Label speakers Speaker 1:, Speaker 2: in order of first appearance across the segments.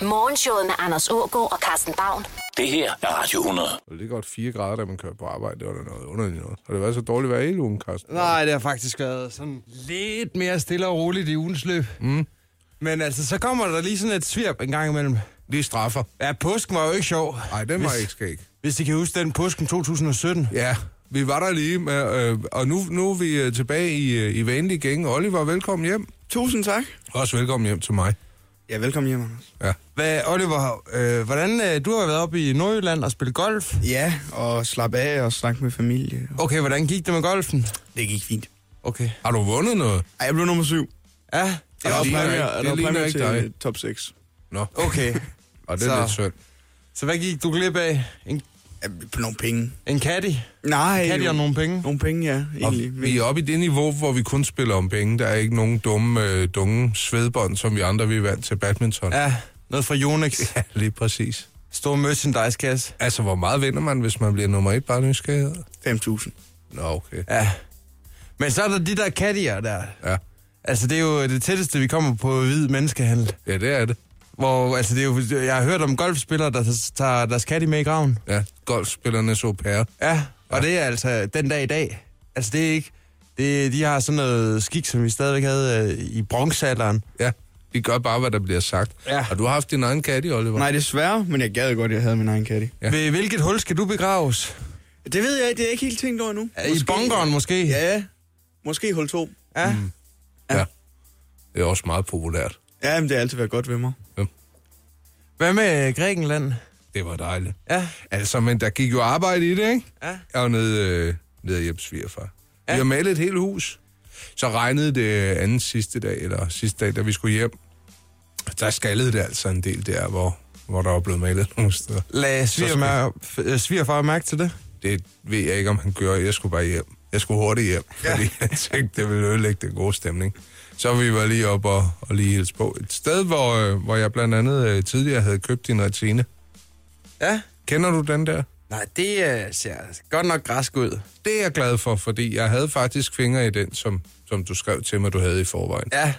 Speaker 1: Morgenshowet med Anders Ågaard og Carsten Baum.
Speaker 2: Det her er Radio 100.
Speaker 3: Og det er godt 4 grader, da man kører på arbejde. Det var da noget underligt noget. Har det været så dårligt vejr hele ugen, Carsten?
Speaker 4: Nej, det har faktisk været sådan lidt mere stille og roligt i ugens løb. Mm. Men altså, så kommer der lige sådan et svirp en gang imellem.
Speaker 3: Lige straffer.
Speaker 4: Ja, påsken var jo ikke sjov.
Speaker 3: Nej, den var ikke skæg.
Speaker 4: Hvis I kan huske den påsken 2017.
Speaker 3: Ja, vi var der lige, med, øh, og nu, nu er vi øh, tilbage i, øh, i vanlig gænge. Oliver, velkommen hjem.
Speaker 5: Tusind tak.
Speaker 3: Også velkommen hjem til mig.
Speaker 5: Ja, velkommen hjem, Anders.
Speaker 3: Ja.
Speaker 4: Hvad, Oliver, øh, hvordan, øh, du har været oppe i Nordjylland og spillet golf.
Speaker 5: Ja, og slap af og snakke med familie.
Speaker 4: Okay, hvordan gik det med golfen?
Speaker 5: Det gik fint.
Speaker 4: Okay.
Speaker 3: Har du vundet noget?
Speaker 5: Ej, jeg blev nummer syv.
Speaker 4: Ja,
Speaker 5: Og
Speaker 3: Det
Speaker 5: der var
Speaker 3: ligner
Speaker 5: præmier-
Speaker 3: ikke-
Speaker 5: og
Speaker 3: det
Speaker 5: der var
Speaker 3: ligner
Speaker 5: præmier
Speaker 3: ikke
Speaker 5: til øh,
Speaker 3: dig.
Speaker 5: top 6.
Speaker 3: Nå,
Speaker 4: okay.
Speaker 3: og det er
Speaker 4: så-
Speaker 3: lidt synd.
Speaker 4: Så hvad gik du glip af? En,
Speaker 5: På nogle penge.
Speaker 4: en caddy?
Speaker 5: Nej.
Speaker 4: Caddy og nogle penge?
Speaker 5: Nogle penge, ja,
Speaker 3: Og
Speaker 5: egentlig.
Speaker 3: vi er oppe i det niveau, hvor vi kun spiller om penge. Der er ikke nogen dumme, øh, dumme svedbånd, som vi andre vi er vant til badminton.
Speaker 4: Ja, noget fra Yonex.
Speaker 3: ja, lige præcis.
Speaker 4: Stor merchandise-kasse.
Speaker 3: Altså, hvor meget vinder man, hvis man bliver nummer et bare nysgerrighed?
Speaker 5: 5.000.
Speaker 3: Nå, okay.
Speaker 4: Ja. Men så er der de der caddier der.
Speaker 3: Ja.
Speaker 4: Altså, det er jo det tætteste, vi kommer på hvid menneskehandel.
Speaker 3: ja, det er det.
Speaker 4: Hvor, altså, det er jo, jeg har hørt om golfspillere, der tager deres caddy med i graven.
Speaker 3: Ja, golfspillernes au pair.
Speaker 4: Ja, og ja. det er altså den dag i dag. Altså, det er ikke... Det, de har sådan noget skik, som vi stadigvæk havde øh, i bronzealderen.
Speaker 3: Ja, de gør bare, hvad der bliver sagt.
Speaker 4: Ja.
Speaker 3: Har du haft din egen kat i, Oliver?
Speaker 5: Nej, desværre, men jeg gad godt, at jeg havde min egen caddy.
Speaker 3: Ja.
Speaker 4: Ja. Ved hvilket hul skal du begraves?
Speaker 5: Det ved jeg ikke, det er jeg ikke helt tænkt over endnu.
Speaker 4: I bunkeren måske?
Speaker 5: Ja, måske hul 2.
Speaker 4: ja.
Speaker 3: Ja. Det er også meget populært.
Speaker 5: Ja, men det har altid været godt ved mig.
Speaker 4: Hvad med øh, Grækenland?
Speaker 3: Det var dejligt.
Speaker 4: Ja.
Speaker 3: Altså, men der gik jo arbejde i det, ikke?
Speaker 4: Ja.
Speaker 3: Jeg var nede, øh, nede hjemme svigerfar. Ja.
Speaker 4: Ja.
Speaker 3: Vi har malet et helt hus. Så regnede det anden sidste dag, eller sidste dag, da vi skulle hjem. Der skaldede det altså en del der, hvor, hvor der var blevet malet nogle steder.
Speaker 4: Lad svigermær- f- øh, svigerfar mærke til det.
Speaker 3: Det ved jeg ikke, om han gør. Jeg skulle bare hjem. Jeg skulle hurtigt hjem, fordi ja. jeg tænkte, det ville ødelægge den gode stemning. Så vi var lige op og, og lige hilse på. Et sted, hvor, øh, hvor jeg blandt andet øh, tidligere havde købt din retine.
Speaker 4: Ja.
Speaker 3: Kender du den der?
Speaker 4: Nej, det øh, ser godt nok græsk ud.
Speaker 3: Det er jeg glad for, fordi jeg havde faktisk fingre i den, som, som du skrev til mig, du havde i forvejen. Ja.
Speaker 4: Ja.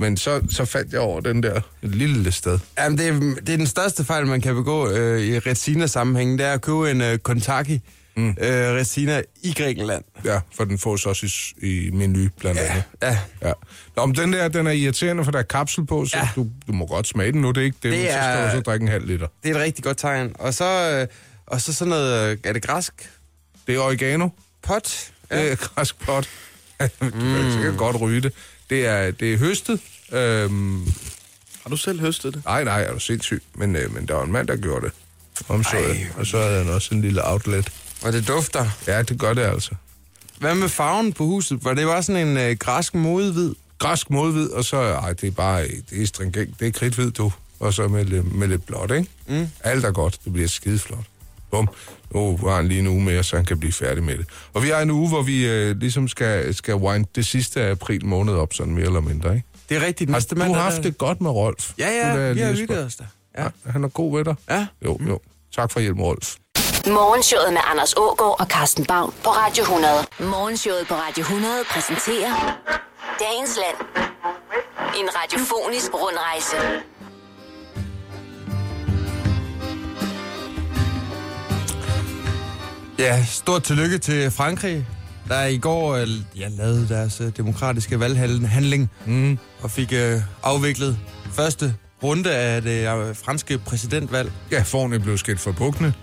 Speaker 3: Men så, så faldt jeg over den der et lille sted.
Speaker 4: Jamen, det, er, det er den største fejl, man kan begå øh, i Resina-sammenhængen, det er at købe en øh, Kontaki mm. øh, Resina i Grækenland.
Speaker 3: Ja, for den fås også i, s- i menu, blandt andet.
Speaker 4: Ja,
Speaker 3: Ja. Nå, men den der, den er irriterende, for der er kapsel på, så ja.
Speaker 4: Ja.
Speaker 3: du, du må godt smage den nu, det er ikke det,
Speaker 4: Det
Speaker 3: det er... så skal
Speaker 4: er-
Speaker 3: du så drikke en halv liter.
Speaker 4: det er et rigtig godt tegn. Og så, øh, og så sådan noget, øh, er det græsk
Speaker 3: Det er oregano,
Speaker 4: pot?
Speaker 3: ja. det er græskpot. du
Speaker 4: Mm.
Speaker 3: kan sikkert godt ryge det. Det er, det er høstet. Øhm,
Speaker 5: Har du selv høstet det?
Speaker 3: nej, nej, er du sindssyg, men, øh, men der var en mand, der gjorde det. Omsøget. Og så havde han også en lille outlet.
Speaker 4: Og det dufter.
Speaker 3: Ja, det gør det altså.
Speaker 4: Hvad med farven på huset? Var det var sådan en øh, græsk modehvid?
Speaker 3: Græsk modhvid, og så, ej, det er bare, øh, det er stringent, det er kridtvid, du. Og så med, lidt- med lidt blåt, ikke? Mm. Alt er godt, det bliver skideflot. Bum. Nu har han lige en uge mere, så han kan blive færdig med det. Og vi har en uge, hvor vi øh, ligesom skal, skal wind det sidste af april måned op, sådan mere eller mindre, ikke?
Speaker 4: Det er rigtigt.
Speaker 3: Har du
Speaker 4: Mm. mandag,
Speaker 3: haft
Speaker 4: der-
Speaker 3: det godt med Rolf?
Speaker 4: Ja,
Speaker 3: Skulle
Speaker 4: ja,
Speaker 3: jeg
Speaker 4: vi har
Speaker 3: lige spørge.
Speaker 4: hygget os der. Ja.
Speaker 3: Ja. Han er god ved dig.
Speaker 4: Ja.
Speaker 3: Jo, jo. Tak for hjælp, Rolf.
Speaker 1: Morgenshowet med Anders Ågaard og Carsten Baum på Radio 100. Morgenshowet på Radio 100 præsenterer Dagens Land. En radiofonisk rundrejse.
Speaker 4: Ja, stort tillykke til Frankrig, der i går øh, ja, lavede deres øh, demokratiske valghandling mm. og fik øh, afviklet første runde af det øh, franske præsidentvalg.
Speaker 3: Ja, forne blev skilt for bukkene.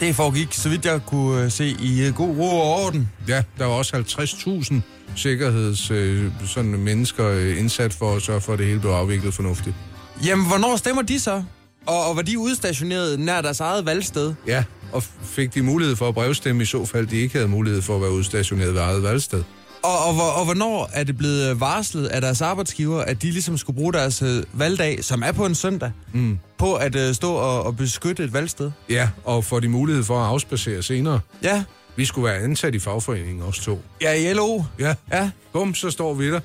Speaker 4: Det foregik, så vidt jeg kunne øh, se, i øh, god ro og orden.
Speaker 3: Ja, der var også 50.000 sikkerheds øh, sådan mennesker øh, indsat for at sørge for, at det hele blev afviklet fornuftigt.
Speaker 4: Jamen, hvornår stemmer de så? Og, og var de udstationeret nær deres eget valgsted?
Speaker 3: Ja, og f- fik de mulighed for at brevstemme i så fald, de ikke havde mulighed for at være udstationeret ved eget valgsted.
Speaker 4: Og, og, hvor- og hvornår er det blevet øh, varslet af deres arbejdsgiver, at de ligesom skulle bruge deres øh, valgdag, som er på en søndag, mm. på at øh, stå og, og beskytte et valgsted?
Speaker 3: Ja, og får de mulighed for at afspacere senere.
Speaker 4: Ja,
Speaker 3: Vi skulle være ansat i fagforeningen, også to.
Speaker 4: ja i LO.
Speaker 3: Ja,
Speaker 4: Ja.
Speaker 3: bum, så står vi der.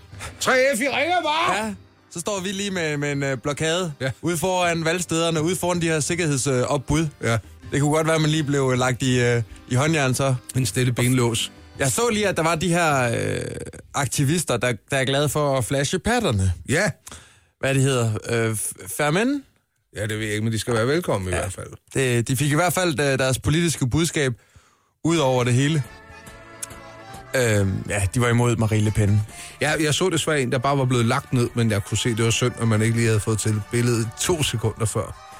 Speaker 3: 3F, I ringer bare!
Speaker 4: Ja, så står vi lige med, med en øh, blokade
Speaker 3: Ja.
Speaker 4: ja. ude foran valgstederne, ude foran de her sikkerhedsopbud. Øh,
Speaker 3: Ja.
Speaker 4: ja. Det kunne godt være, at man lige blev øh, lagt i, øh, i håndjern så.
Speaker 3: En stille benlås.
Speaker 4: Jeg så lige, at der var de her øh, aktivister, der, der er glade for at flashe patterne.
Speaker 3: Ja,
Speaker 4: Hvad de hedder? Øh, f- Fairmen?
Speaker 3: Ja, det ved jeg ikke, men de skal være velkommen ja. i hvert fald.
Speaker 4: Det, de fik i hvert fald øh, deres politiske budskab ud over det hele. Øhm, ja, de var imod Marie Le Pen.
Speaker 3: Jeg, jeg så desværre en, der bare var blevet lagt ned, men jeg kunne se, det var synd, at man ikke lige havde fået til billedet to sekunder før.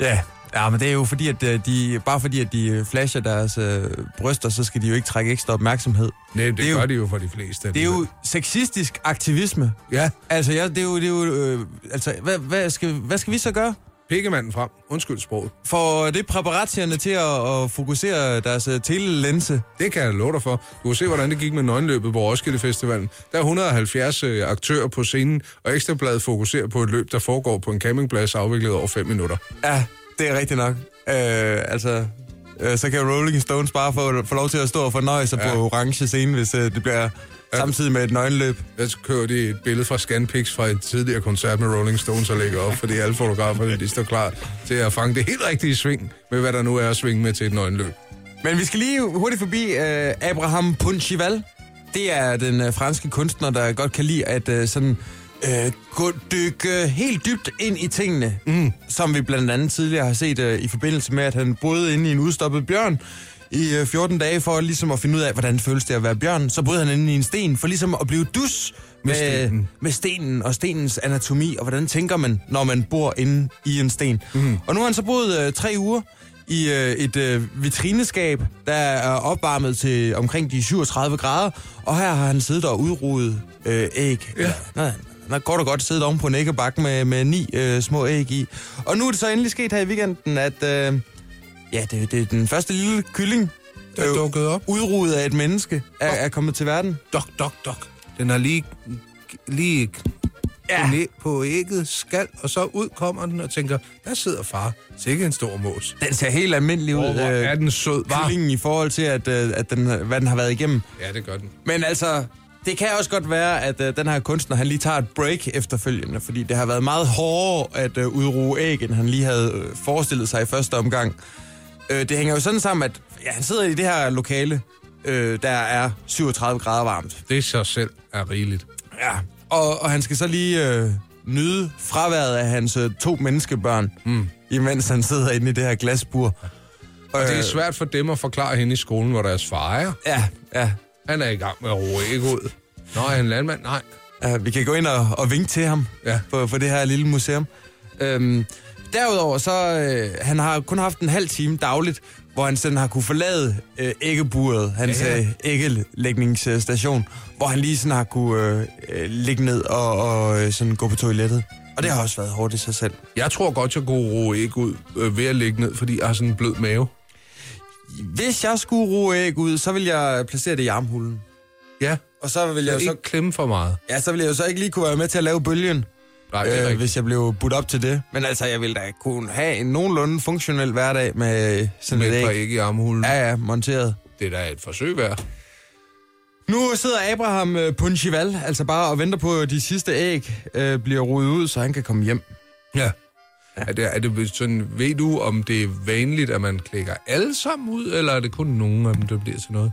Speaker 4: Ja, ja men det er jo fordi, at øh, de, bare fordi, at de øh, flasher deres øh, bryster, så skal de jo ikke trække ekstra opmærksomhed.
Speaker 3: Nej, det,
Speaker 4: Det er
Speaker 3: det
Speaker 4: jo-
Speaker 3: gør de jo for de fleste.
Speaker 4: Det er jo sexistisk aktivisme.
Speaker 3: Ja,
Speaker 4: Altså, ja, det er jo... Det er jo øh, altså, hvad, hvad, skal, hvad skal vi så gøre?
Speaker 3: pikkemanden frem. Undskyld sproget.
Speaker 4: For det paparazzierne til at, at fokusere deres øh, telelense.
Speaker 3: Det kan jeg love dig for. Du kan se, hvordan det gik med nøgenløbet på Roskilde Festivalen. Der er 170 øh, aktører på scenen, og Ekstrabladet fokuserer på et løb, der foregår på en campingplads afviklet over 5 minutter.
Speaker 4: Ja, det er rigtigt nok. Øh, altså, øh, så kan Rolling Stones bare få, få lov til at stå og fornøje sig ja. på orange scene, hvis øh, det bliver ja. samtidig med et nøgenløb.
Speaker 3: Der kører de et billede fra Scanpix fra et tidligere koncert med Rolling Stones og lægger op, fordi alle fotograferne de står klar til at fange det helt rigtige sving med, hvad der nu er at svinge med til et nøgenløb.
Speaker 4: Men vi skal lige hurtigt forbi øh, Abraham Punchival. Det er den øh, franske kunstner, der godt kan lide at øh, sådan, øh, gå, dykke helt dybt ind i tingene. Mm. Som vi blandt andet tidligere har set øh, i forbindelse med, at han boede inde i en udstoppet bjørn i øh, 14 dage for ligesom at finde ud af, hvordan føles det at være bjørn. Så boede han inde i en sten for ligesom at blive dus med, med, stenen.
Speaker 3: stenen.
Speaker 4: med stenen og stenens anatomi, og hvordan tænker man, når man bor inde i en sten. Mm. Og nu har han så boet øh, tre uger i øh, et øh, vitrineskab, der er opvarmet til omkring de 37 grader, og her har han siddet og udrudet øh, æg. Ja. Nej, der går du godt siddet oven på en æggebakke med, med ni øh, små æg i. Og nu er det så endelig sket her i weekenden, at øh, ja, det, det er den første lille kylling, øh,
Speaker 3: Der er dukket op.
Speaker 4: udrudet af et menneske, er, er kommet til verden.
Speaker 3: Dok, dok, dok. Den har lige, lige
Speaker 4: Ja.
Speaker 3: knæ på ægget, skal, og så ud kommer den og tænker, der sidder far. Sikke en stor mås.
Speaker 4: Den ser helt almindelig ud.
Speaker 3: Åh, hvor
Speaker 4: øh,
Speaker 3: er den sød, var.
Speaker 4: kyllingen i forhold til, at, øh, at den, hvad den har været igennem.
Speaker 3: Ja, det gør den.
Speaker 4: Men altså, det kan også godt være, at øh, den her kunstner, han lige tager et break efterfølgende, fordi det har været meget hårdere at øh, udruge æg, end han lige havde øh, forestillet sig i første omgang. Øh, det hænger jo sådan sammen, at ja, han sidder i det her lokale, øh, der er 37 grader varmt.
Speaker 3: Det i sig selv er rigeligt.
Speaker 4: Ja, og, og han skal så lige øh, nyde fraværet af hans øh, to menneskebørn, mm. imens han sidder inde i det her glasbur. Øh,
Speaker 3: Og det er svært for dem at forklare hende i skolen, hvor deres far er.
Speaker 4: Ja, ja.
Speaker 3: Han er i gang med at roe æg ud. Nå, er han landmand? Nej.
Speaker 4: Ja, Øh, vi kan gå ind og, og vinke til ham ja.
Speaker 3: Ja.
Speaker 4: på, på det her lille museum. Øhm, derudover så øh, han har kun haft en halv time dagligt, hvor han sådan har kunne forlade øh, æggeburet, hans ja,
Speaker 3: Ja,
Speaker 4: ja.
Speaker 3: ja.
Speaker 4: Øh, æggelægningsstation, hvor han lige sådan har kunne øh, øh, ligge ned og, og øh, sådan gå på toilettet. Og det har også været hårdt i sig selv.
Speaker 3: Jeg tror godt, jeg kunne roe æg ud øh, ved at ligge ned, fordi jeg har sådan en blød mave.
Speaker 4: Hvis jeg skulle roe æg ud, så ville jeg placere det i armhulen.
Speaker 3: Ja,
Speaker 4: Og så
Speaker 3: jeg
Speaker 4: ville jeg,
Speaker 3: vil
Speaker 4: jo så,
Speaker 3: ikke klemme for meget.
Speaker 4: ja, så ville jeg jo så ikke lige kunne være med til at lave bølgen.
Speaker 3: Nej, det er
Speaker 4: øh,
Speaker 3: rigtigt.
Speaker 4: hvis jeg blev budt op til det. Men altså, jeg ville da kunne have en nogenlunde funktionel hverdag med øh, sådan
Speaker 3: Men
Speaker 4: et
Speaker 3: ikke.
Speaker 4: æg.
Speaker 3: ikke i armhulen. Ja.
Speaker 4: Ja, ja, monteret.
Speaker 3: Det er da et forsøg værd.
Speaker 4: Nu sidder Abraham øh, Punchival altså bare og venter på, at de sidste æg øh, bliver rodet ud, så han kan komme hjem.
Speaker 3: Ja. Er det, er det sådan, ved du, om det er vanligt, at man klikker alle sammen ud, eller er det kun nogen af dem, der bliver til noget?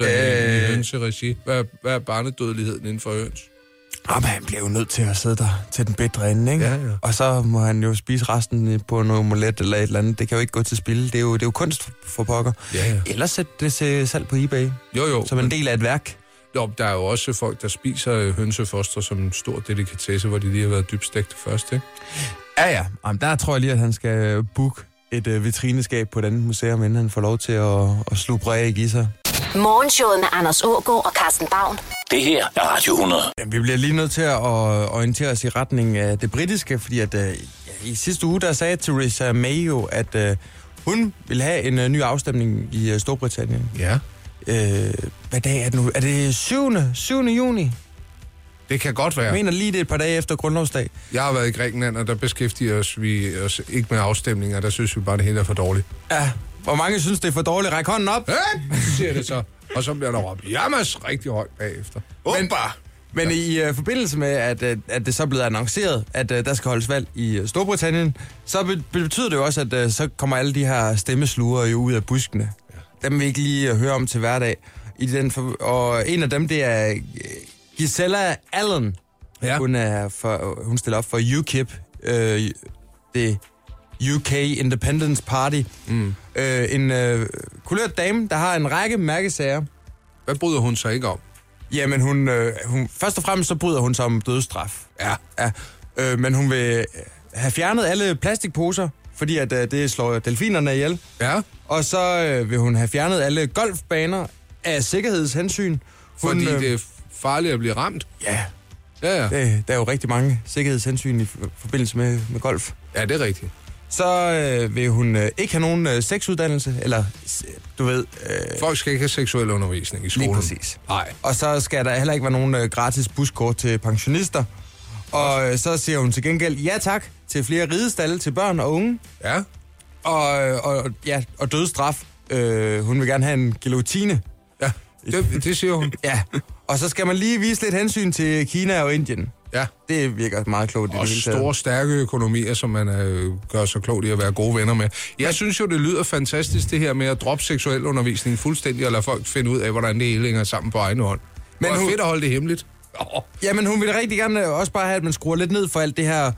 Speaker 3: Så øh... i
Speaker 4: Øh.
Speaker 3: hønseregi. Hvad, er- hvad er barnedødeligheden inden for høns?
Speaker 4: Jamen, han bliver jo nødt til at sidde der til den bedre ende, ikke?
Speaker 3: Ja, ja.
Speaker 4: Og så må han jo spise resten øh, på en omelet eller et eller andet. Det kan jo ikke gå til spil. Det er jo, det er jo kunst for pokker.
Speaker 3: Ja, ja.
Speaker 4: Eller sæt det til salg på eBay,
Speaker 3: Jo, jo.
Speaker 4: som en del af et værk.
Speaker 3: Jo, der er jo også folk, der spiser øh, hønsefoster som en stor delikatesse, hvor de lige har været dybstegt først, ikke?
Speaker 4: Ja, ja. Jamen, der tror jeg lige, at han skal booke et øh, vitrineskab på et andet museum, inden han får lov til at, at slubre æg i sig.
Speaker 1: Morgenshowet med Anders Ågaard og Carsten Baum.
Speaker 2: Det her er Radio 100.
Speaker 4: Jamen, vi bliver lige nødt til at orientere os i retning af det britiske, fordi at, øh, ja, i sidste uge, der sagde Theresa May jo, at øh, hun vil have en øh, ny afstemning i øh, Storbritannien.
Speaker 3: Ja.
Speaker 4: Øh, hvad dag er det nu? Er det 7. 7. juni?
Speaker 3: Det kan godt være.
Speaker 4: Jeg mener lige det er et par dage efter grundlovsdag.
Speaker 3: Jeg har været i Grækenland, og der beskæftiger os vi os ikke med afstemninger. Der synes vi bare, det hele er for dårligt.
Speaker 4: Ja, hvor mange synes, det er for dårligt. Ræk hånden op.
Speaker 3: Øh, siger det så. Og så bliver der råbt, jamas, rigtig højt bagefter.
Speaker 4: Men, men i øh, forbindelse med, at, øh, at det så er blevet annonceret, at øh, der skal holdes valg i øh, Storbritannien, så be- betyder det jo også, at øh, så kommer alle de her stemmesluger jo ud af buskene. Ja. Dem vi ikke lige øh, hører om til hverdag. I den for- og en af dem, det er øh, Gisella Allen.
Speaker 3: Ja.
Speaker 4: Hun, er for, hun stiller op for UKIP. Øh, det UK Independence Party. Mm. Øh, en øh, kulørt dame, der har en række mærkesager.
Speaker 3: Hvad bryder hun sig ikke om?
Speaker 4: Jamen, hun, øh, hun, først og fremmest så bryder hun sig om dødsstraf.
Speaker 3: Ja.
Speaker 4: Ja, øh, men hun vil øh, have fjernet alle plastikposer, fordi at, øh, det slår jo delfinerne ihjel.
Speaker 3: Ja,
Speaker 4: Og så øh, vil hun have fjernet alle golfbaner af sikkerhedshensyn. Hun,
Speaker 3: fordi
Speaker 4: øh,
Speaker 3: det er farligt at blive ramt.
Speaker 4: Ja,
Speaker 3: Ja, ja.
Speaker 4: det, der er jo rigtig mange sikkerhedshensyn i f- forbindelse med, med golf.
Speaker 3: Ja, det er rigtigt.
Speaker 4: Så øh, vil hun øh, ikke have nogen øh, sexuddannelse, eller s- du ved... Øh,
Speaker 3: Folk skal ikke have seksuel undervisning i skolen.
Speaker 4: lige præcis.
Speaker 3: Nej.
Speaker 4: Og så skal der heller ikke være nogen øh, gratis buskort til pensionister. Og øh, så siger hun til gengæld ja tak til flere ridestalle til børn og unge.
Speaker 3: Ja,
Speaker 4: og, øh, og, ja, og dødsstraf. Øh, hun vil gerne have en guillotine.
Speaker 3: ja. Det, det siger hun.
Speaker 4: Ja, og så skal man lige vise lidt hensyn til Kina og Indien.
Speaker 3: Ja.
Speaker 4: Det virker meget klogt i
Speaker 3: Og
Speaker 4: det hele taget.
Speaker 3: store, stærke økonomier, som man øh, gør så klogt i at være gode venner med. Jeg synes jo, det lyder fantastisk, det her med at droppe seksuel undervisning fuldstændig, og lade folk finde ud af, hvordan det hele hænger sammen på egen hånd. Men
Speaker 4: Men
Speaker 3: det er
Speaker 4: hun-
Speaker 3: fedt at holde det hemmeligt. Oh,
Speaker 4: Jamen, hun vil rigtig gerne øh, også bare have, at man skruer lidt ned for alt det her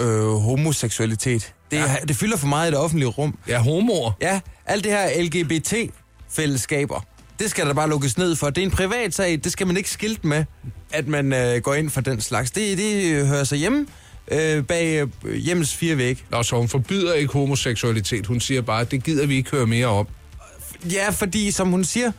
Speaker 4: øh, homoseksualitet. Det, ja. det fylder for meget i det offentlige rum.
Speaker 3: ja, homoer.
Speaker 4: Ja, alt det her LGBT-fællesskaber, det skal der bare lukkes ned for. Det er en privat sag, det skal man ikke skilte med, at man øh, går ind for den slags. Det, det øh, hører sig hjemme øh, bag øh, hjemmes fire vægge.
Speaker 3: Nå, så hun forbyder ikke homoseksualitet. Hun siger bare, det gider vi ikke høre mere om.
Speaker 4: Ja, fordi som hun siger,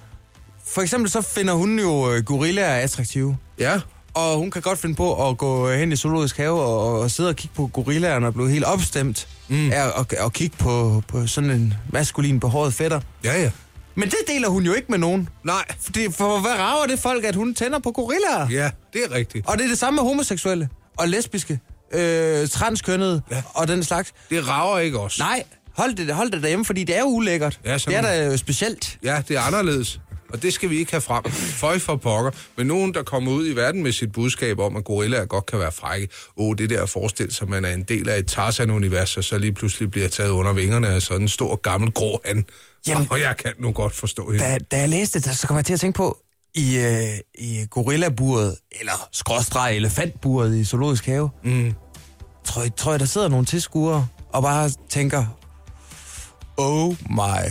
Speaker 4: for eksempel så finder hun jo øh, gorillaer attraktive.
Speaker 3: Ja,
Speaker 4: Og hun kan godt finde på at gå hen i zoologisk have og, og sidde og kigge på gorillaerne og blive helt opstemt mm. af og, og kigge på, på sådan en maskulin behåret fætter.
Speaker 3: ja, ja.
Speaker 4: Men det deler hun jo ikke med nogen.
Speaker 3: Nej,
Speaker 4: Fordi, for hvad rager det folk, at hun tænder på gorillaer?
Speaker 3: ja, det er rigtigt.
Speaker 4: Og det er det samme med homoseksuelle og lesbiske, øh, transkønnede ja. og den slags.
Speaker 3: Det rager ikke os.
Speaker 4: Nej, hold det, hold det derhjemme, fordi det er jo ulækkert.
Speaker 3: Ja,
Speaker 4: det
Speaker 3: sådan
Speaker 4: er
Speaker 3: er
Speaker 4: da specielt.
Speaker 3: Ja, det er anderledes. Og det skal vi ikke have frem. Føj for pokker. Men nogen, der kommer ud i verden med sit budskab om, at gorillaer godt kan være frække. Åh, det der at forestille sig, at man er en del af et Tarzan-univers, og så lige pludselig bliver taget under vingerne af sådan en stor, gammel, grå han.
Speaker 4: Jamen-
Speaker 3: Og jeg kan nu godt forstå hende.
Speaker 4: da, da jeg læste det, så kom jeg til at tænke på, i, øh, i gorillaburet, eller skråstreg elefantburet i Zoologisk Have, mm. tror, jeg- tror jeg, der sidder nogle tilskuere og bare tænker, oh my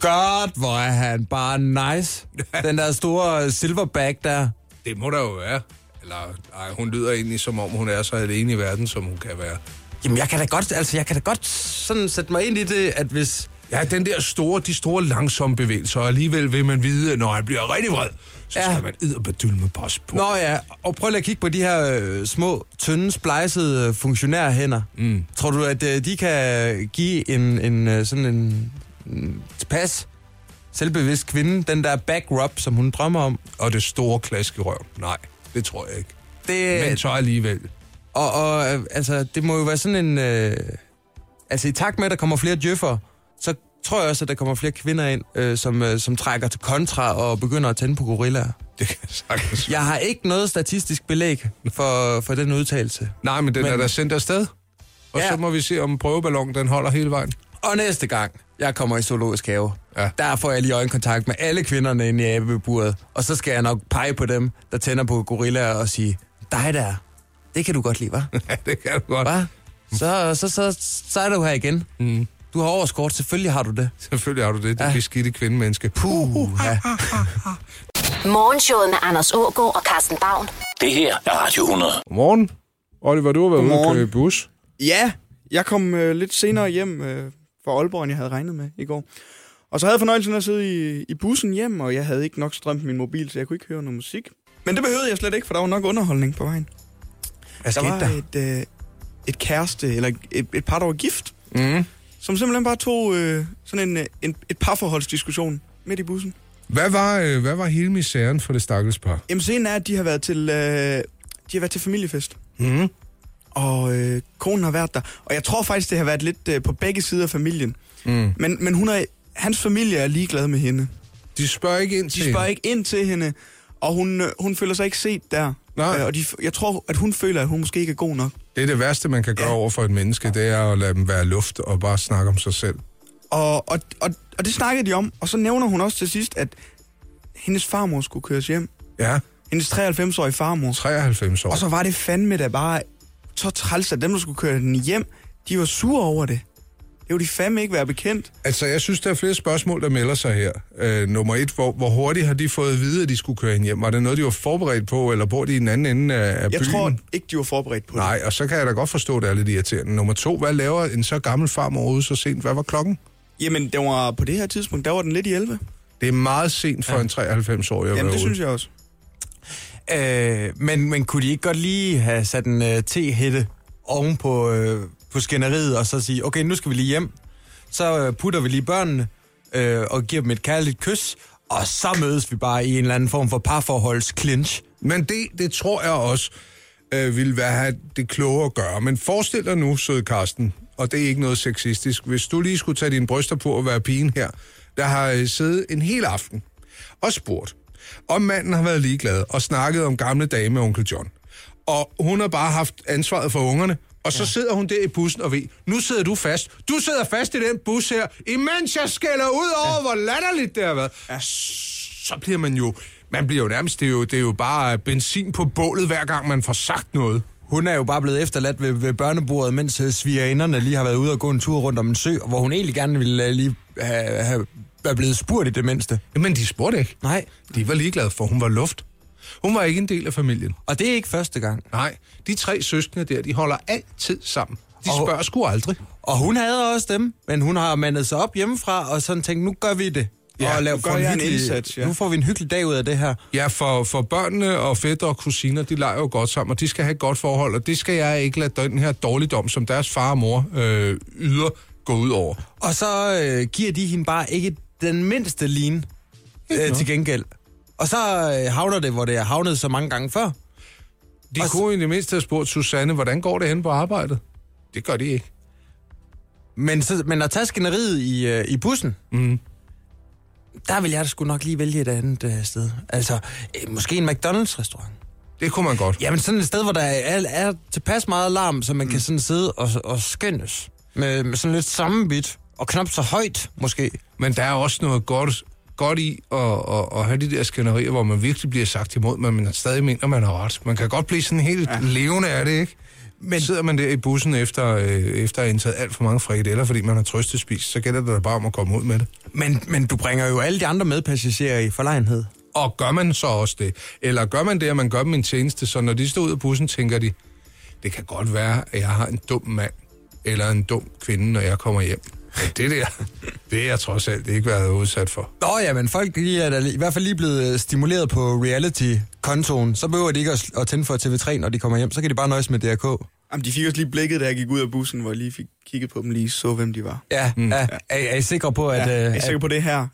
Speaker 4: god, hvor er han bare nice. Den der store silverback der.
Speaker 3: Det må der jo være. Eller, ej, hun lyder egentlig, som om hun er så alene i verden, som hun kan være.
Speaker 4: Jamen, jeg kan da godt, altså, jeg kan da godt sådan sætte mig ind i det, at hvis...
Speaker 3: Ja, den der store, de store langsomme bevægelser, og alligevel vil man vide, at når han bliver rigtig vred, så
Speaker 4: Ja.
Speaker 3: ja. skal man edderbedylle med pas på.
Speaker 4: Nå ja, og prøv lige at kigge på de her øh, små, tynde, splejsede øh, funktionærhænder. Mm. Tror du, at øh, de kan give en, en øh, sådan en, en tilpas selvbevidst kvinde den der back rub, som hun drømmer om?
Speaker 3: Og det store klask i røven. Nej, det tror jeg ikke.
Speaker 4: Det,
Speaker 3: Men så alligevel.
Speaker 4: og, og øh, altså, det må jo være sådan en... Øh, altså, i takt med, at der kommer flere djøffere, så tror jeg også, at der kommer flere kvinder ind, øh, som, øh, som trækker til kontra og begynder at tænde på gorillaer.
Speaker 3: Det kan jeg sagtens. Ja.
Speaker 4: Jeg har ikke noget statistisk belæg for, for den udtalelse.
Speaker 3: Nej, men den men... er da sendt afsted. Og
Speaker 4: Ja.
Speaker 3: ja. så må vi se, om prøveballonen den holder hele vejen.
Speaker 4: Og næste gang, jeg kommer i zoologisk have, ja.
Speaker 3: Ja.
Speaker 4: der får jeg lige øjenkontakt med alle kvinderne inde i abeburet, og så skal jeg nok pege på dem, der tænder på gorillaer og sige, dig der, det kan du godt lide, hva?
Speaker 3: Ja, det kan du godt.
Speaker 4: hva? Så, så, så, så er du her igen. Mm. Du har overskort, selvfølgelig har du det.
Speaker 3: Selvfølgelig har du det. Det ja. beskidte kvindemenneske.
Speaker 4: Puh, ja.
Speaker 1: Morgenshowet med Anders Ågaard og Carsten Baum.
Speaker 2: Det her er Radio 100.
Speaker 3: Godmorgen. Oliver, du har været ude og
Speaker 5: Godmorgen.
Speaker 3: køre i bus.
Speaker 5: Ja, jeg kom øh, lidt senere hjem øh, fra Aalborg, end jeg havde regnet med i går. Og så havde jeg fornøjelsen af at sidde i, i bussen hjem, og jeg havde ikke nok strøm på min mobil, så jeg kunne ikke høre noget musik. Men det behøvede jeg slet ikke, for der var nok underholdning på vejen.
Speaker 4: Hvad
Speaker 5: Der
Speaker 4: skete
Speaker 5: var
Speaker 4: der?
Speaker 5: et, øh, et kæreste, eller et, et par, der var gift, mm. som simpelthen bare tog øh, sådan en, øh, en, et parforholdsdiskussion midt i bussen.
Speaker 3: Hvad var, øh, hvad var hele misæren for det stakkels par?
Speaker 5: Jamen, scenen er, at de har været til, øh, de har været til familiefest. Mm. Og øh, konen har været der. Og jeg tror faktisk, det har været lidt øh, på begge sider af familien. Mm. Men, men hun er, hans familie er ligeglad med hende.
Speaker 3: De spørger ikke ind til
Speaker 5: De spørger
Speaker 3: hende.
Speaker 5: ikke ind til hende, og hun, øh, hun føler sig ikke set der.
Speaker 3: Nej.
Speaker 5: Øh, og de, jeg tror, at hun føler, at hun måske ikke er god nok.
Speaker 3: Det er det værste, man kan gøre ja. over for et menneske, det er at lade dem være luft og bare snakke om sig selv.
Speaker 5: Og, og, og, og det snakkede de om, og så nævner hun også til sidst, at hendes farmor skulle køres hjem.
Speaker 3: Ja,
Speaker 5: Hendes 93-årige farmor.
Speaker 3: 93 år.
Speaker 5: Og så var det fandme da bare så træls, at dem, der skulle køre den hjem, De var sure over det. Det ville de fandme ikke være bekendt.
Speaker 3: Altså, jeg synes, der er flere spørgsmål, der melder sig her. Øh, nummer et, hvor, hvor hurtigt har de fået at vide, at de skulle køre hende hjem? Var det noget, de var forberedt på, eller bor de i den anden ende af, af
Speaker 5: Jeg
Speaker 3: byen?
Speaker 5: tror ikke, de var forberedt på det.
Speaker 3: Nej, og så kan jeg da godt forstå, at det er lidt irriterende. Nummer to, hvad laver en så gammel farmor ude så sent? Hvad var klokken?
Speaker 5: Jamen, den var, på det her tidspunkt, der var den lidt i 11.
Speaker 3: Det er meget sent for ja. en 93-årig at
Speaker 5: Jamen,
Speaker 3: være
Speaker 5: det
Speaker 3: ude.
Speaker 5: synes jeg også.
Speaker 4: Øh, men, men kunne de ikke godt lige have sat en øh, tehætte oven på, øh, på skænderiet, og så sige, okay, nu skal vi lige hjem. Så øh, putter vi lige børnene øh, og giver dem et kærligt kys, og så mødes vi bare i en eller anden form for parforholds clinch.
Speaker 3: Men det, det tror jeg også øh, ville være det kloge at gøre. Men forestil dig nu, søde Karsten, og det er ikke noget sexistisk, hvis du lige skulle tage dine bryster på og være pigen her, der har øh, siddet en hel aften og spurgt, om manden har været ligeglad og snakket om gamle dage med onkel John. Og hun har bare haft ansvaret for ungerne, og så ja. sidder hun der i bussen og ved, nu sidder du fast. Du sidder fast i den bus her, imens jeg skælder ud over, ja. hvor latterligt det har været. Ja. Så bliver man jo, man bliver jo nærmest, det er jo, det er jo bare benzin på bålet, hver gang man får sagt noget.
Speaker 4: Hun er jo bare blevet efterladt ved, ved børnebordet, mens øh, svigerinderne lige har været ude og gå en tur rundt om en sø, hvor hun egentlig gerne ville øh, lige have, have, være blevet spurgt i det mindste.
Speaker 3: Men de spurgte ikke.
Speaker 4: Nej.
Speaker 3: De var ligeglade for, hun var luft. Hun var ikke en del af familien.
Speaker 4: Og det er ikke første gang.
Speaker 3: Nej, de tre søskende der, de holder altid sammen. De
Speaker 4: Og-
Speaker 3: spørger sgu aldrig.
Speaker 4: Og hun havde også dem, men hun har mandet sig op hjemmefra, og sådan tænkt, nu gør vi det.
Speaker 3: Ja,
Speaker 4: og
Speaker 3: nu
Speaker 4: laver-
Speaker 5: gør
Speaker 4: får
Speaker 5: jeg en
Speaker 4: hyggelig-
Speaker 5: indsats, ja.
Speaker 4: Nu får vi en hyggelig dag ud af det her.
Speaker 3: Ja, for, for børnene og fætter og kusiner, de leger jo godt sammen, og de skal have et godt forhold, og det skal jeg ikke lade den her dårligdom, som deres far og mor øh, yder, gå ud over.
Speaker 4: Og så øh, giver de hende bare ikke den mindste line øh, til gengæld. Og så øh, havner det, hvor det er havnet så mange gange før.
Speaker 3: De
Speaker 4: Og
Speaker 3: og
Speaker 4: s-
Speaker 3: kunne jo i det mindste have spurgt Susanne, hvordan går det hen på arbejdet? Det gør de ikke.
Speaker 4: Men, så, men at tage skænderiet i, øh, i bussen, mm. der vil jeg da sgu nok lige vælge et andet øh, sted. Altså, øh, måske en McDonald's-restaurant.
Speaker 3: Det kunne man godt.
Speaker 4: Jamen sådan et sted, hvor der er, er tilpas meget alarm, så man mm. kan sådan sidde og, og skændes. Med, med sådan lidt sammenbit, og knap så højt måske.
Speaker 3: Men der er også noget godt, godt i at, at, at have de der skænderier, hvor man virkelig bliver sagt imod, men man stadig mener, man har ret. Man kan godt blive sådan helt ja. levende af det, ikke? Men sidder man der i bussen efter, øh, efter at have indtaget alt for mange frikadeller, fordi man har trøstespist, så gælder det da bare om at komme ud med det.
Speaker 4: Men, men du bringer jo alle de andre medpassagerer i forlegenhed.
Speaker 3: Og gør man så også det? Eller gør man det, at man gør dem en tjeneste, så når de står ud af bussen, tænker de, det kan godt være, at jeg har en dum mand eller en dum kvinde, når jeg kommer hjem. Men det der, det er jeg trods alt ikke været udsat for.
Speaker 4: Nå ja, men folk de er da i hvert fald lige blevet øh, stimuleret på reality-kontoen. Så behøver de ikke at, sl- at tænde for TV3, når de kommer hjem. Så kan de bare nøjes med DRK.
Speaker 5: Jamen, de fik også lige blikket, da jeg gik ud af bussen, hvor jeg lige fik kigget på dem lige, så hvem de var.
Speaker 4: Ja, mm. er, er, er I sikre på, at...
Speaker 5: Ja,
Speaker 4: øh,
Speaker 5: jeg er
Speaker 4: at-
Speaker 5: sikker på det her.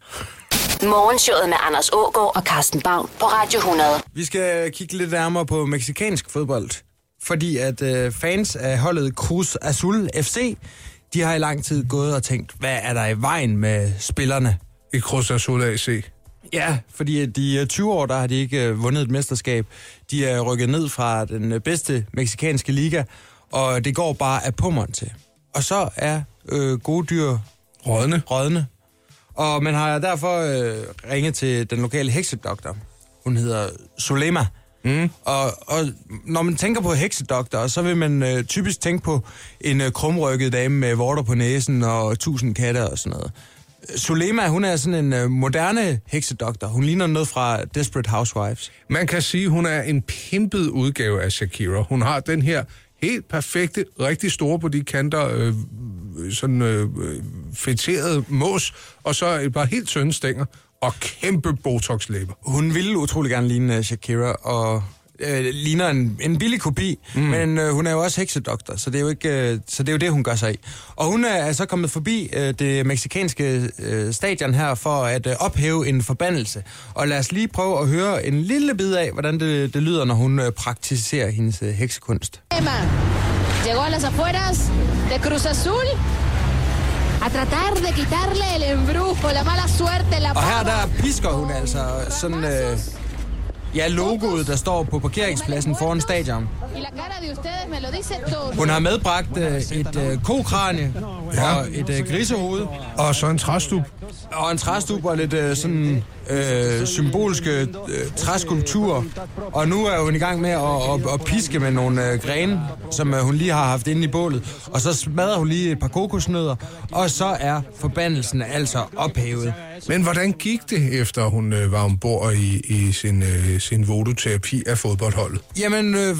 Speaker 1: Morgenshowet med Anders Ågaard og Carsten Baum på Radio 100.
Speaker 4: Vi skal kigge lidt nærmere på meksikansk fodbold, fordi at øh, fans af holdet Cruz Azul FC, de har i lang tid gået og tænkt, hvad er der i vejen med spillerne?
Speaker 3: I Cruz Azul AC.
Speaker 4: Ja, fordi at de øh, 20 år, der har de ikke øh, vundet et mesterskab. De er rykket ned fra den øh, bedste meksikanske liga, og det går bare af pummeren til. Og så er øh, gode dyr
Speaker 3: Rådne.
Speaker 4: rådne. Og man har derfor øh, ringet til den lokale heksedoktor. Hun hedder Solema. Mm. Og, og når man tænker på heksedoktor, så vil man øh, typisk tænke på en øh, krumrykket dame med vorter på næsen og tusind katte og sådan noget. Solema, hun er sådan en øh, moderne heksedoktor. Hun ligner noget fra Desperate Housewives.
Speaker 3: Man kan sige, hun er en pimpet udgave af Shakira. Hun har den her helt perfekte, rigtig store på de kanter, øh, sådan øh, øh, fetterede mås, og så et par helt tynde stænger og kæmpe botox-læber.
Speaker 4: Hun ville utrolig gerne ligne øh, Shakira, og øh, ligner en, en billig kopi, mm. men øh, hun er jo også heksedoktor, så det er jo ikke, øh, så det er jo det, hun gør sig i. Og hun er, er så kommet forbi øh, det meksikanske øh, stadion her for at øh, ophæve en forbandelse. Og lad os lige prøve at høre en lille bid af, hvordan det, det lyder, når hun øh, praktiserer hendes øh, heksekunst.
Speaker 6: Emma llegó a las afueras de Cruz Azul a tratar de quitarle el embrujo, la mala suerte, la
Speaker 4: Og her
Speaker 6: pava.
Speaker 4: der pisker hun altså sådan... Øh, ja, logoet, der står på parkeringspladsen foran stadion.
Speaker 6: Y la cara de ustedes me lo dice todo.
Speaker 4: Hun har medbragt øh, et øh, kokranie ja. og et øh, grisehoved,
Speaker 3: Og så en træstup.
Speaker 4: og en træstup og lidt øh, sådan øh, symbolske øh, træskulpturer. Og nu er hun i gang med at, at, at piske med nogle øh, grene, som øh, hun lige har haft inde i bålet. Og så smadrer hun lige et par kokosnødder, og så er forbandelsen altså ophævet.
Speaker 3: Men hvordan gik det, efter hun øh, var ombord i, i sin, øh, sin vodoterapi af fodboldholdet?
Speaker 4: Jamen, øh, øh,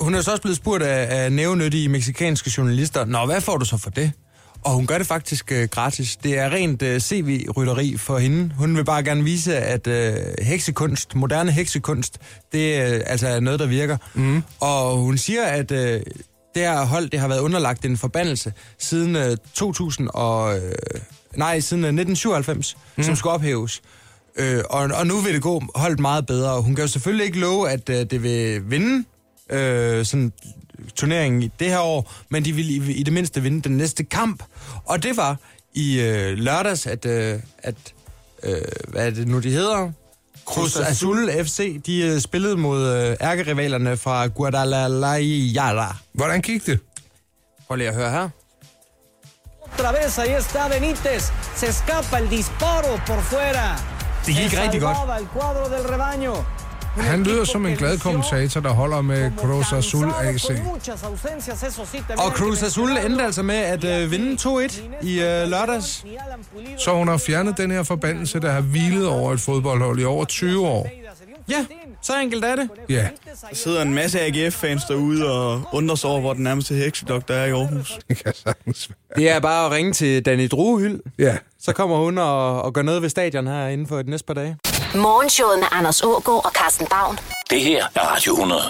Speaker 4: hun er så også blevet spurgt af, af nævnyttige meksikanske journalister, Nå, hvad får du så for det? Og hun gør det faktisk øh, gratis. Det er rent øh, CV-rytteri for hende. Hun vil bare gerne vise, at øh, heksekunst, moderne heksekunst, det øh, altså er noget, der virker. Mm. Og hun siger, at øh, det her hold det har været underlagt en forbandelse siden øh, 2000 og, øh, nej, siden øh, 1997, mm. som skulle ophæves. Øh, og, og nu vil det gå holdt meget bedre, og hun kan jo selvfølgelig ikke love, at øh, det vil vinde øh, sådan, turneringen i det her år, men de vil i, i det mindste vinde den næste kamp. Og det var i øh, lørdags, at, øh, at øh, hvad er det nu, de hedder? Cruz Azul FC, de øh, spillede mod øh, ærkerivalerne fra Guadalajara.
Speaker 3: Hvordan gik det?
Speaker 4: Prøv lige at høre her.
Speaker 7: Otra vez, ahí está Benítez. Se escapa el disparo por fuera.
Speaker 4: Det gik
Speaker 7: Se
Speaker 4: rigtig godt.
Speaker 7: salvaba el cuadro del rebaño. Un
Speaker 3: Han lyder
Speaker 7: equipo
Speaker 3: som en
Speaker 7: que
Speaker 3: glad
Speaker 7: lució
Speaker 3: kommentator, der holder med
Speaker 7: como
Speaker 3: Cruz Azul eh,
Speaker 7: cansado,
Speaker 3: AC.
Speaker 7: con muchas ausencias, eso sí, también
Speaker 4: Og
Speaker 7: hay que
Speaker 4: Cruz Azul
Speaker 7: mencionarlo.
Speaker 4: endte altså med at øh, vinde 2-1 i øh, lørdags.
Speaker 7: Ni Alan Pulido,
Speaker 3: Så hun har fjernet den her forbandelse, der har hvilet over et fodboldhold i over 20 år.
Speaker 4: Ja, så enkelt er det.
Speaker 3: Ja,
Speaker 5: Der sidder en masse AGF-fans derude og undrer sig over, hvor den nærmeste heksedoktor er i Aarhus.
Speaker 3: det kan sagtens være.
Speaker 4: Det er bare at ringe til Danny Druehyld.
Speaker 3: Ja,
Speaker 4: Så kommer hun og, og gør noget ved stadion her inden for de næste par dage.
Speaker 1: Morgenshowet med Anders Ågaard og Carsten Baum.
Speaker 2: Det her er Radio 100.